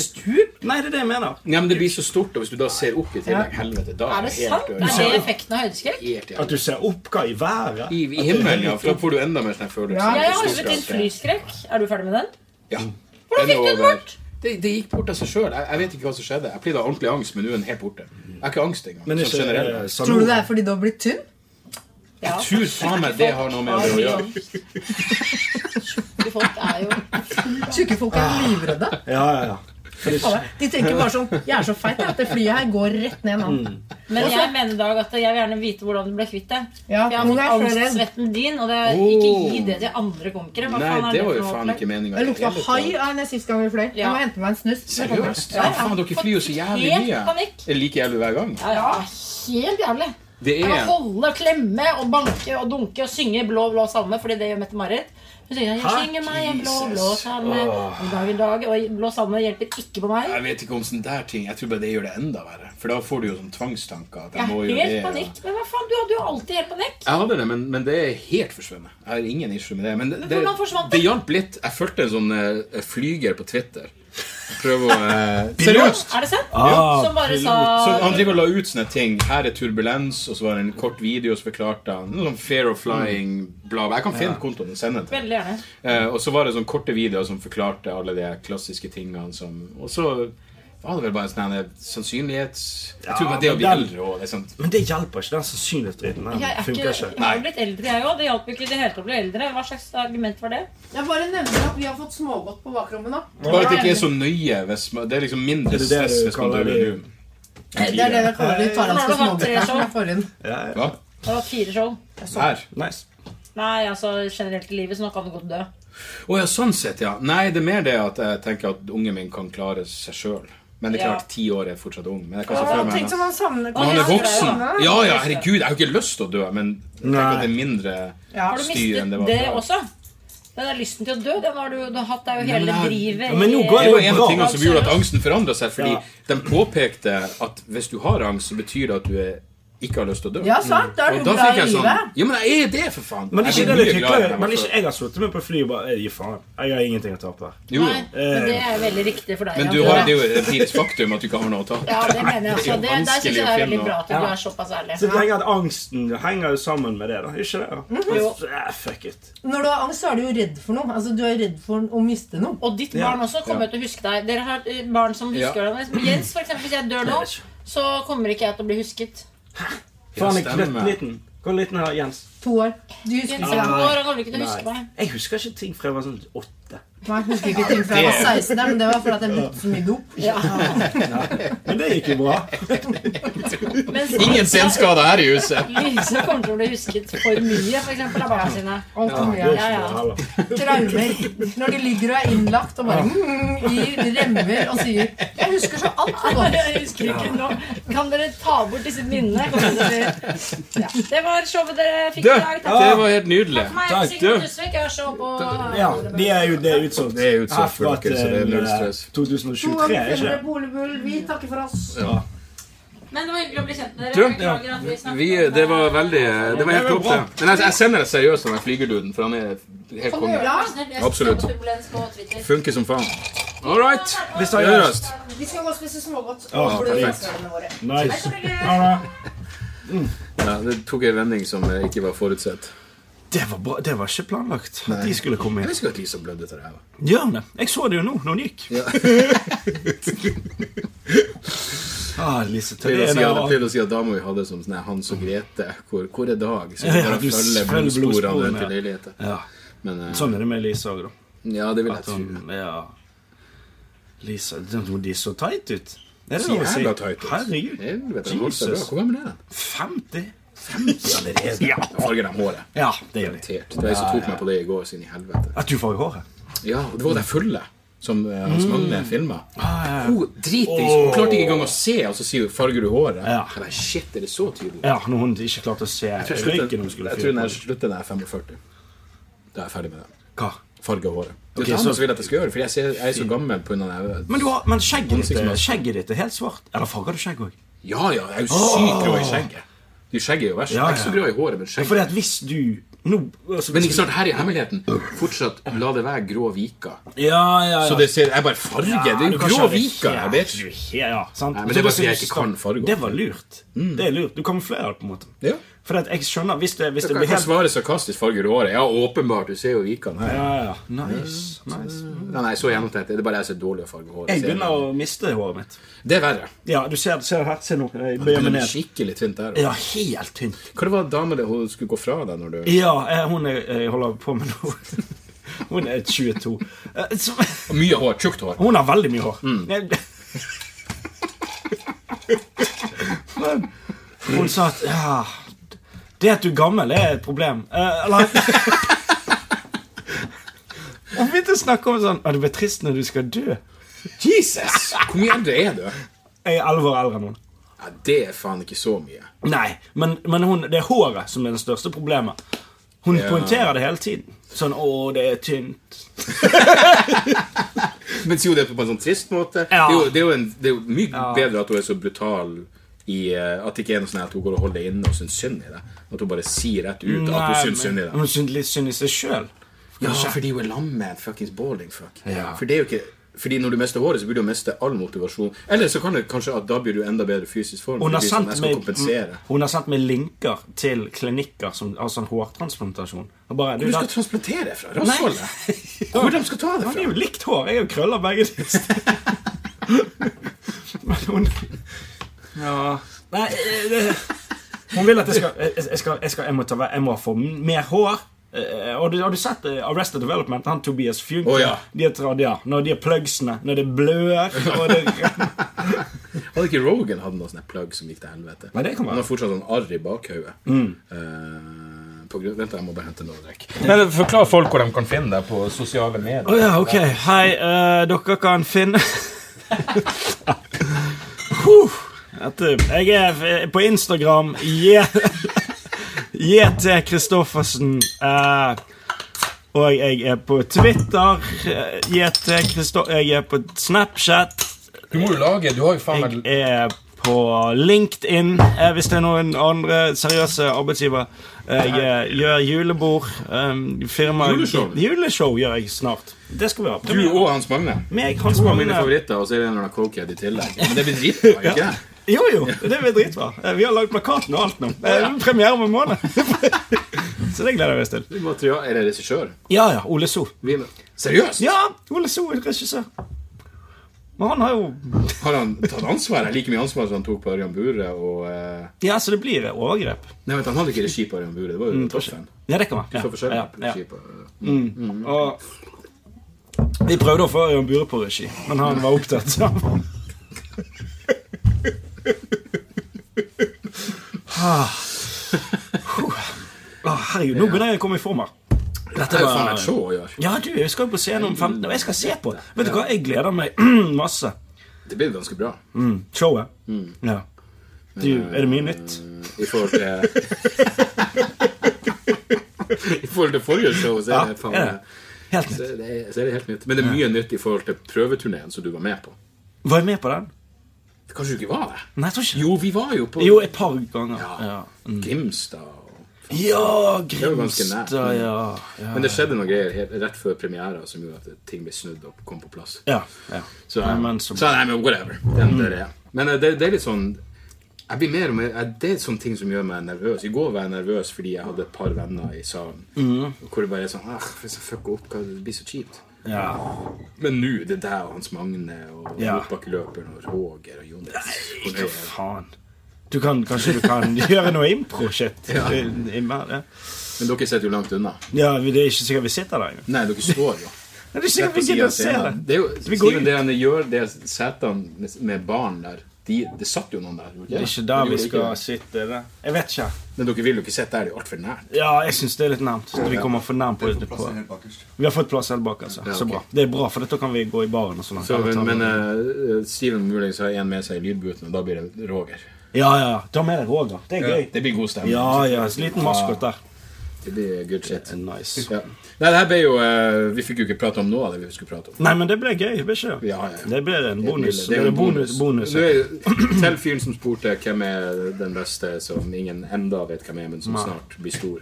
S7: stup.
S2: Nei, det er det jeg mener.
S1: Ja, men det blir så stort, og hvis du da ser opp i tillegg, helvete, da
S7: Er det
S1: helt
S7: sant?
S1: ødelagt.
S7: Er det effekten av høydeskrekk?
S1: Helt jævlig.
S2: At du ser opp hva i været.
S1: I, I himmelen, ja. For da får du enda mer sånn følelse.
S6: Ja,
S7: Jeg
S1: av
S7: har
S1: stor
S7: øvet inn
S1: skrekk.
S7: flyskrekk. Er du ferdig med den?
S1: Ja.
S7: Hvordan
S1: Den er
S7: fikk du den
S1: over.
S7: bort?
S1: Det, det gikk bort av seg sjøl. Jeg, jeg vet ikke hva som skjedde. Jeg pleide å ha ordentlig angst, men nå er den helt borte. Jeg har ikke angst engang.
S2: Men
S1: sånn
S2: ikke
S1: generelt.
S2: eh,
S6: Tror du det
S2: Sanora.
S6: er fordi du har blitt tynn?
S7: Ja.
S1: Jeg tror faen meg det har noe med det å gjøre.
S7: Tjukke folk er jo
S6: Tjukke folk
S1: Ah.
S6: er livredde.
S2: Ja, ja, ja.
S6: De tenker bare sånn Jeg er så feit jeg, at det flyet her går rett ned
S1: Mm.
S6: nå.
S7: Men jeg mener i dag at jeg vil gjerne vite hvordan du ble kvitt det.
S6: Ja,
S7: For jeg har
S6: noen
S7: fått
S6: er så redd.
S7: angstsvetten din, og det ikke gi det til andre komikere. Hva
S1: Oh. Nei,
S7: faen er
S1: det
S7: det
S1: var
S7: for
S1: jo
S7: noe
S1: faen
S7: opplegg?
S1: ikke meninga.
S6: Jeg lukta hai av henne sist gang vi fløy. Jeg
S7: Ja.
S6: må hente meg en snus.
S1: Seriøst? Ja, faen, dere flyr jo så jævlig
S7: Helt
S1: mye.
S7: panikk.
S1: Er det like jævlig hver gang?
S7: Ja, ja, helt jævlig.
S1: Det
S7: Jeg må
S1: er
S7: holde, klemme og banke og dunke og synge blå, blå salme, fordi det gjør Mette-Marit. Hun synger 'Jeg synger meg en blå, blå salme om dag i dag', og blå salme hjelper ikke på meg.
S1: Jeg vet ikke om sånne der ting Jeg tror bare det gjør det enda verre. For da får du jo sånn tvangstanker. at
S7: Jeg
S1: må
S7: er
S1: gjøre
S7: helt
S1: det, og-
S7: panikk. Men hva faen, du hadde jo alltid helt panikk.
S1: Jeg hadde det, men, men det er helt forsvunnet. Jeg har ingen issue med det. Men det, det,
S7: hvordan forsvant det?
S1: det hjalp litt. Jeg følte en sånn eh, flyger på Twitter. Prøv å eh, Seriøst!
S7: Er det sant?
S2: Ah,
S7: Som bare sa
S1: Så han driver og la ut sånne ting. Her er turbulens, og så var det en kort video, og så forklarte han noe sånn fair of flying, bla, bla. Jeg kan finne kontoen og sende den.
S7: Veldig gjerne.
S1: Eh, og så var det sånne korte videoer som forklarte alle de klassiske tingene som Og så var det vel bare en sånn her sannsynlighets... Jeg tror
S2: Ja,
S1: bare det å
S2: men
S1: bli
S2: den-
S1: eldre og det er sånt
S2: Men det hjelper ikke. Den sannsynlighetsdriten den
S7: Jeg er ikke,
S2: funker
S7: jeg
S2: ikke.
S7: har jo blitt eldre, jeg òg. Det hjalp jo ikke i det hele tatt å bli eldre. Hva slags argument var det?
S6: Jeg bare nevner at vi har fått smågodt på bakrommet nå.
S1: Bare at det ikke er så nøye hvis man, Det er liksom mindre
S2: Er det det
S1: stress
S2: du
S1: hvis man
S2: kaller
S1: dør
S2: det?
S1: nå.
S6: Eh, Det er det vi kaller de thailandske
S7: Har du hatt tre
S6: smågodtene.
S7: sånn?
S6: fra forrige.
S2: Ja, ja.
S1: Hva?
S7: Det var fire show.
S6: sånn.
S1: Her?
S2: Nice.
S7: Nei, altså generelt i livet, så nå kan du godt dø.
S1: Å ja, sånn sett, ja. Nei, det er mer det at jeg tenker at ungen min kan klare seg sjøl. Men det er
S7: Ja.
S1: klart, ti år er fortsatt ung. Men jeg kan se for
S6: Ja,
S1: meg
S6: Tenk som han savner
S1: Men han er
S7: Ja,
S1: voksen.
S7: ja,
S6: sånn.
S1: Ja, ja, herregud, jeg har jo ikke lyst til å dø, men jeg tenker
S2: Nei.
S1: at det er mindre
S6: Ja.
S7: Har du
S1: styr enn
S7: mistet
S1: det
S7: det,
S1: var før.
S7: også? Den der lysten til å dø, den har du, du har hatt deg jo hele
S1: men jeg-
S7: drivet
S2: Ja, men nå
S7: i-
S2: går
S1: Det var en
S2: Bra.
S1: av tingene som gjorde at angsten forandra seg, fordi
S2: Ja.
S1: de påpekte at hvis du har angst, så betyr det at du er, ikke har lyst til å dø.
S6: Ja, sant. Da er
S1: Og
S6: du
S1: da
S6: glad
S1: fikk
S6: i
S1: jeg sånn
S6: livet.
S1: Ja, men jeg er det, for faen!
S2: Men
S1: Jeg
S2: ikke
S1: er
S2: det litt
S1: mye gladere
S2: hykleri.
S1: enn jeg var
S2: Men ikke
S1: før.
S2: jeg har sittet med på fly og bare Gi faen. Jeg har ingenting å tape her.
S1: Jo,
S7: Nei,
S1: jo.
S7: men det er veldig riktig for deg.
S1: Men
S7: Jan
S1: du
S7: Tore.
S1: har, det er jo et empirisk faktum at du ikke har noe å ta.
S7: Ja, det mener jeg også. Det,
S1: Det er jo
S7: der synes
S1: vanskelig
S7: jeg
S1: å
S7: det er veldig
S1: finne
S7: bra
S1: noe.
S7: at du er såpass ærlig.
S2: Så jeg tenker at angsten henger jo sammen med det, da. Ikke det? da?
S7: Jo.
S2: Så, eh, fuck it.
S6: Når du har angst, så er du jo redd for noe. Altså, Du er redd for å miste noe.
S7: Og ditt
S2: Ja.
S7: barn også kommer jo til å huske deg. Dere har eh, barn som
S1: Ja.
S7: husker deg. Jens, for eksempel, hvis jeg dør nå, så kommer ikke jeg til å bli husket.
S2: Faen, jeg er
S1: stemmer.
S2: knøtt liten. Hvor liten er Jens?
S6: To år. Du husker
S7: Jens
S6: ikke
S7: er
S6: det.
S7: to år, han kommer ikke til å huske meg.
S2: Jeg husker ikke ting fra jeg var sånn åtte.
S6: Nei, jeg husker ikke ting fra jeg var 16, der, men det var fordi at jeg brukte så mye dop.
S2: Men det gikk jo bra.
S7: Mens
S1: Ingen senskader her i huset.
S7: Lyse kommer til å bli husket for mye, for eksempel, av barna sine.
S6: Alt for mye.
S2: Det er
S7: Ja,
S2: ikke
S7: ja.
S2: bra heller.
S6: Traumer. Når de ligger og er innlagt og bare mm, i remmer og sier 'Jeg husker så altfor godt'.
S7: Jeg husker ikke nå. Kan dere ta bort disse minnene? Kommer det til å si. Ja. Det var showet dere fikk
S1: Du,
S7: i dag. Takk
S1: det var helt nydelig.
S7: for meg.
S2: Takk,
S7: Sigmund
S1: du.
S7: Tusvik, jeg har show på
S2: Ja, de er jo det er utsolgt.
S1: Det er utsolgt
S2: Herfra
S1: for dere, så det er
S2: til,
S1: null
S2: eh,
S1: stress.
S2: 2023, er ikke det?
S6: Bolebull, vi takker for oss.
S1: Ja.
S7: Men det var hyggelig å bli kjent med
S1: Du,
S7: dere. Beklager at vi snakket
S1: vi, det var veldig Det var helt topp, det. Men jeg, jeg sender det seriøst han der flygerduden, for han er helt
S7: Kom og gjør
S1: konge.
S7: det, vær så snill. Jeg skal
S1: Absolutt.
S7: skape turbulens på Twitter.
S1: Funker som faen. All right.
S2: Hvis det er
S1: Seriøst.
S6: Vi skal gå og spise smågodt.
S1: Ja,
S6: og blod i
S1: perfekt.
S6: ørene våre.
S2: Nice.
S1: Ja, det tok en vending som eh, ikke var forutsett.
S2: Det var, bra. det var ikke planlagt at de skulle komme
S1: Jeg
S2: inn.
S1: visste ikke at Lisa blødde til det her. da.
S2: Gjør det. Jeg så det jo nå, når hun gikk. ah, Lise,
S1: Til å,
S2: det er
S1: si at,
S2: da-
S1: til å si at dama vi hadde som sånn her Hans og Grete Hvor, hvor er Dag? Så vi
S2: Ja,
S1: bare
S2: du
S1: følger
S2: følger
S1: blodsporene
S2: blodsporene.
S1: til leiligheten.
S2: Ja.
S1: Men eh,
S2: Sånn er det med Lise òg, da.
S1: ja, det vil jeg
S2: At
S1: tro.
S2: hun ja. Lisa, de, de så tight ut. Er det
S1: Så
S2: lov å si?
S1: jævla tight ut.
S2: Herregud.
S1: Jeg vet, jeg holdt seg bra.
S2: Jesus.
S1: Hvor gammel er den?
S2: 50? 50 allerede?
S1: Ja, farger dem håret.
S2: Ja, det gjør de.
S1: Irritert. Det er jeg som tok meg på det i går, siden i helvete.
S2: At du får i håret.
S1: Ja, og det var
S2: Mm.
S1: det fulle som eh, Hans Magne filma.
S2: Ah,
S1: Hun dritings. Hun klarte ikke engang å se, og så sier hun 'farger du håret'?
S2: Ja.
S1: Jeg bare, Shit, er det så tydelig?
S2: Ja, når hun ikke klarte å se
S1: Jeg tror jeg
S2: røyken hun
S1: slutter-
S2: skulle
S1: jeg tror
S2: fyre
S1: når
S2: på.
S1: jeg slutter når jeg er 45. Da er jeg ferdig med det.
S2: Hva?
S1: Farge håret. Det
S2: Ok,
S1: er
S2: så-
S1: det så... vil jeg at jeg skal gjøre, for jeg, ser, jeg er så gammel på grunn av det.
S2: Men, du har, men skjegget, ditt,
S1: Ansiktsmaske.
S2: skjegget ditt er helt svart. Eller farger du skjegg òg?
S1: Ja, ja, jeg er jo sykt grå i skjegget. Du, skjegget er jo verst.
S2: Ja,
S1: Jeg er ikke så
S2: ja.
S1: grå i håret, men skjegget
S2: Fordi at hvis du nå altså,
S1: Men ikke sant, her i hemmeligheten fortsatt la det være grå viker.
S2: Ja, ja, ja.
S1: sånn- Så det ser Jeg bare farger! det er
S2: du
S1: jo
S2: kan
S1: grå
S2: ikke ha
S1: viker!
S2: helt-
S1: Jeg vet ikke.
S2: Ja, ja, sant?
S1: Nei, men det er bare
S2: Så
S1: fordi jeg
S2: hvis
S1: ikke
S2: du
S1: kan
S2: skal-
S1: farge. Mm.
S2: Det var lurt. Det er lurt. Du kamuflerer det på en måte.
S1: Ja.
S2: For at jeg skjønner Hvis det, hvis det
S1: Jeg
S2: blir
S1: kan
S2: helt
S1: svare sarkastisk farger i håret. Ja, åpenbart. Du ser jo vikene her.
S2: Ja, ja. Nice. nice.
S1: Nei, nei, så gjennomtenkt. Det er bare jeg som er dårlig å farge håret.
S2: Jeg
S1: Ser
S2: begynner å miste håret mitt.
S1: du? Det er verre.
S2: Ja, du ser, ser her. Se nå. Jeg
S1: Det
S2: bøyer meg
S1: er
S2: ned.
S1: skikkelig tynt der.
S2: Ja, helt tynt.
S1: Hva det var dama di hun skulle gå fra deg når du
S2: Ja, eh, hun er, jeg holder på med nå. Hun er 22. Eh, så-
S1: Mye hår. Tjukt hår.
S2: Hun har veldig mye hår.
S1: Mm.
S2: Jeg- Men hun sa at ja, Det at du er gammel, er et problem. Eh, eller Hun begynte å snakke om sånn at det blir trist når du skal dø. Jesus!
S1: Hvor mye eldre er du?
S2: Jeg er elleve år eldre enn hun.
S1: Ja, det er faen ikke så mye.
S2: Nei, men, men hun, det er håret som er det største problemet. Hun poengterer det hele tiden. Sånn 'Å, det er tynt'.
S1: Men sier hun det på en sånn trist måte?
S2: Ja.
S1: Det, er jo, det, er jo en, det er jo mye bedre at hun er så brutal i eh, At det ikke er noe sånn her at hun går og holder det inne og syns synd i det. At hun bare sier rett ut at hun
S2: Nei,
S1: syns synd i
S2: men
S1: det.
S2: Hun syns litt synd i seg sjøl.
S1: Ja, fordi hun er lam med en fuckings baldingfuck.
S2: Ja.
S1: For det er jo ikke fordi når du mister håret, så burde du miste all motivasjon. Eller så kan det kanskje at da blir du enda bedre i fysisk form. for
S2: Hun har,
S1: det blir sånn,
S2: sendt
S1: jeg skal
S2: meg, Mm.
S1: kompensere.
S2: hun har sendt meg linker til klinikker som har sånn hårtransplantasjon. Og bare,
S1: Hvor
S2: du,
S1: du skal
S2: det-
S1: transplantere det fra? Rassholdet? Hvor de skal ta det
S2: han er
S1: fra?
S2: jo likt hår! Jeg har jo krøller begge steder. Men hun Ja Nei, eh, det, hun vil at jeg skal Jeg, jeg, skal, jeg, skal, jeg, må, ta, vei- jeg må få mer hår. Eh, Har du, har du sett eh, Arrested Development? Han Tobias
S1: Å,
S2: Fugue.
S1: ja.
S2: de, tar- ja, når de er plugsene, når det blør og det,
S1: Hadde ikke Rogan hadde noe sånn plagg som gikk til helvete?
S2: Nei, det kan være.
S1: Han har fortsatt sånn arr i bakhauget. Eh, på grunn- Vent, jeg må bare hente noe å drikke. Forklar folk hvor de kan finne deg på sosiale medier.
S2: Å ja, ok. Hei, eh, dere kan finne Huh. Dette- Jeg er f- eh, på Instagram. J- JT Kristoffersen. eh, og jeg er på Twitter. eh, JT Kristo... Jeg er på Snapchat.
S1: Du må jo lage Du har jo faen
S2: Jeg er på LinkedIn, eh, hvis det er noen andre seriøse arbeidsgivere. Jeg eh, gjør julebord. eh, firma
S1: Juleshow.
S2: Juleshow gjør jeg snart. Det skal vi ha.
S1: Du og Hans Magne.
S2: Meg, Hans
S1: To av mine
S2: Magne
S1: favoritter, og så er det en eller annen cokehead i tillegg. Men det blir dritbra, ikke det?
S2: Jo, jo, det blir dritbra. Eh, Vi har lagd plakaten og alt nå. Eh, Premiere om en måned. Så det gleder vi oss til.
S1: Du må tro- Er det regissør?
S2: Ja, ja. Ole So.
S1: Vi- Seriøst?
S2: Ja, Ole So er regissør. Men han har jo
S1: Har han tatt ansvar? Like mye ansvar som han tok på Ørjan Bure og eh,
S2: Ja, så det blir overgrep.
S1: Nei, vent, han hadde ikke regi på Ørjan Bure. Det var jo Toffen.
S2: Ja, det kan
S1: Så
S2: være.
S1: forskjellig
S2: Ja, ja,
S1: regi
S2: ja.
S1: på
S2: Og vi prøvde å få Ørjan Bure på regi, men han var opptatt. så han- Ah. Huh. Å, herregud, nå begynner jeg å komme i form her.
S1: Det
S2: Dette
S1: er jo faen et show å gjøre.
S2: Ja, du, jeg skal jo på scenen om 15 Og jeg skal se på det. Vet du hva, jeg gleder meg masse.
S1: Det blir ganske bra.
S2: Showet.
S1: Mm.
S2: Ja. Du, er det mye nytt?
S1: I forhold til I forhold til forrige show, så er det, faen,
S2: er det? Helt
S1: så
S2: nytt.
S1: er det, så er det helt nytt. Men det er mye nytt i forhold til prøveturneen som du var med på.
S2: Var jeg med på den?
S1: Kanskje du ikke var det?
S2: Nei, jeg tror ikke
S1: Jo, vi var jo på
S2: Jo, et par ganger.
S1: ja. Grimstad.
S2: Ja,
S1: Det var ganske nært.
S2: Grimstad, ja. ja.
S1: Men det skjedde noen greier helt, rett før premiera som gjorde at ting ble snudd og kom på plass.
S2: Ja, ja.
S1: Så,
S2: Nei, men så- Mm.
S1: så nei, men whatever. Det, det, er det. Men eh, det, det er litt sånn jeg blir mer og mer, eh, Det er sånne ting som gjør meg nervøs. I går var jeg nervøs fordi jeg hadde et par venner i salen.
S2: Mm.
S1: Hvor det bare er sånn ah, Hvis jeg fucker opp, hva- det blir så kjipt.
S2: ja.
S1: Men nå det er deg og Hans Magne og
S2: Ja.
S1: motbakkeløperen og Roger og Jonis. Og
S2: Hva
S1: det-
S2: faen? Du kan, kanskje du kan gjøre noe impro-shit?
S1: Ja.
S2: I- i- i-
S1: Men dere sitter jo langt unna.
S2: Ja, vi- det er ikke sikkert vi sitter der engang.
S1: Nei, dere står jo.
S2: Det er ikke
S1: Rett
S2: sikkert
S1: på
S2: vi
S1: siden
S2: gidder
S1: av
S2: å se det.
S1: scenen. Det er jo,
S2: Vi går
S1: Steven, det han gjør, det er setene med- med barn der de, Det satt jo noen der. gjorde
S2: Det er ikke der
S1: Gjorde
S2: vi
S1: det ikke
S2: skal
S1: det?
S2: sitte. det. Jeg vet ikke.
S1: Men dere vil jo ikke sitte der. Det er jo altfor nært.
S2: Ja, jeg syns det er litt nærmt. Så vi kommer for nærmt på det.
S3: Plassen
S2: På.
S3: helt bakerst.
S2: Vi har fått plass helt bak, altså.
S1: Ja,
S2: Så
S1: ok.
S2: bra. Det er bra, for da kan vi gå i baren og sånn.
S1: Så, men men eh, Steven muligens har en med seg i lydbooten, og da blir det Roger.
S2: Ja, ja. Ta med deg Roger. Det er gøy.
S1: Det blir god stemning.
S2: Ja, ja. En liten maskot der.
S1: Det blir good shit.
S2: Nice.
S1: Ja. Nei, det her ble jo eh, Vi fikk jo ikke prate om noe av det vi skulle prate om.
S2: Nei, men det ble gøy. Det ble ikke
S1: Ja, ja, ja.
S2: Det ble en bonus.
S1: Det er jo en
S2: bonus. bonus.
S1: Nå er- Til fyren som spurte hvem er den beste som ingen enda vet hvem er, men som snart blir stor.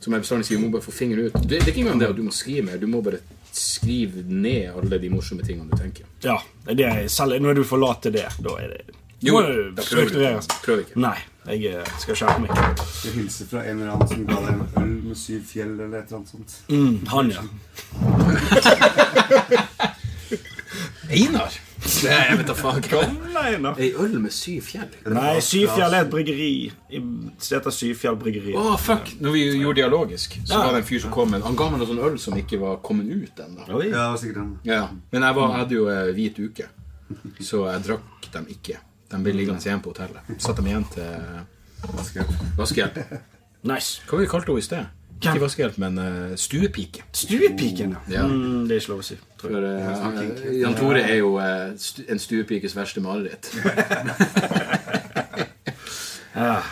S1: Som jeg bestandig sier, du må bare få fingeren ut. Det, det er ikke engang det at du må skrive mer, du må bare skrive ned alle de morsomme tingene du tenker.
S2: Ja, det er, selv når du forlater det, da er det Må du
S1: da prøver du
S2: struktureres.
S1: ikke. Prøv ikke.
S2: Nei, jeg eh, skal skjerpe meg.
S3: Jeg hilser fra en eller annen som ga deg en øl med syv fjell eller et eller annet sånt.
S1: Mm.
S2: Mm, Han, ja.
S1: Einar! Nei, jeg vet da faen hva det er.
S2: Nei, da.
S1: Ei øl med syv fjell?
S2: Nei, Syfjell er et bryggeri. I- Det heter Syfjell bryggeri.
S1: Å, fuck! Når vi gjorde dialogisk, så var det en fyr som kom med Han ga meg noe sånn øl som ikke var kommet ut ennå.
S3: Ja, det var sikkert den.
S1: Ja. Men jeg, var, jeg hadde jo eh, hvit uke, så jeg drakk dem ikke. De ble liggende igjen på hotellet. Satt dem igjen til
S3: Vaskehjelp.
S1: vaskehjelp.
S2: Nice.
S1: Hva var det vi kalte henne i sted? Ikke vaskehjelp, men eh, stuepike.
S2: Stuepiken, ja.
S1: Ja.
S2: Mm, det er ikke lov å si. Tror jeg.
S1: For, eh, Jan Tore er jo eh, stu, en stuepikes verste mareritt.
S2: Ah,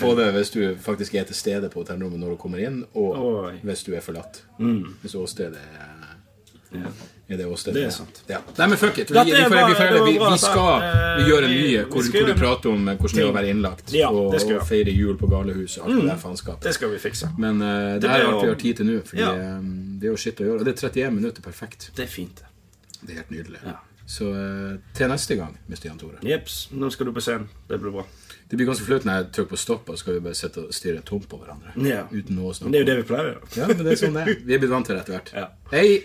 S1: Både hvis du faktisk er til stede på hotellrommet når du kommer inn, og
S2: Oi. Mm.
S1: hvis du er forlatt. Hvis åstedet er er det åstedet.
S2: Det er sant.
S1: Ja. Nei, men fuck it. Vi,
S2: Dette
S1: vi,
S2: er
S1: får-
S2: bra,
S1: vi, får
S2: det var
S1: heller- vi,
S2: bra,
S1: vi skal
S2: dette. Eh,
S1: gjøre en
S2: vi-
S1: ny
S2: vi
S1: hvor,
S2: skal
S1: hvor du
S2: gjøre-
S1: prater om eh, hvordan det er å være innlagt,
S2: Ja,
S1: og,
S2: det skal vi
S1: og feire jul på galehuset og alt det der faenskapet.
S2: Det skal vi fikse.
S1: Men eh, det her
S2: blir
S1: er alt vi
S2: jo-
S1: har tid til nå, Fordi
S2: Ja.
S1: eh, det er jo shit å gjøre. Og det er 31 minutter perfekt.
S2: Det er fint.
S1: Det er helt nydelig.
S2: Ja.
S1: Så eh, til neste gang, Mr. Jan Tore.
S2: Jepps, nå skal du på scenen. Det blir bra.
S1: Det blir ganske flaut når jeg trykker på stopp, og så skal vi bare sitte og stirre tomt på hverandre.
S2: Ja.
S1: Uten noe å
S2: Men det
S1: snakke
S2: er jo det vi pleier å gjøre.
S1: Ja, men det er sånn det er. Vi er blitt vant til det etter hvert.
S2: Ja.
S1: Hei!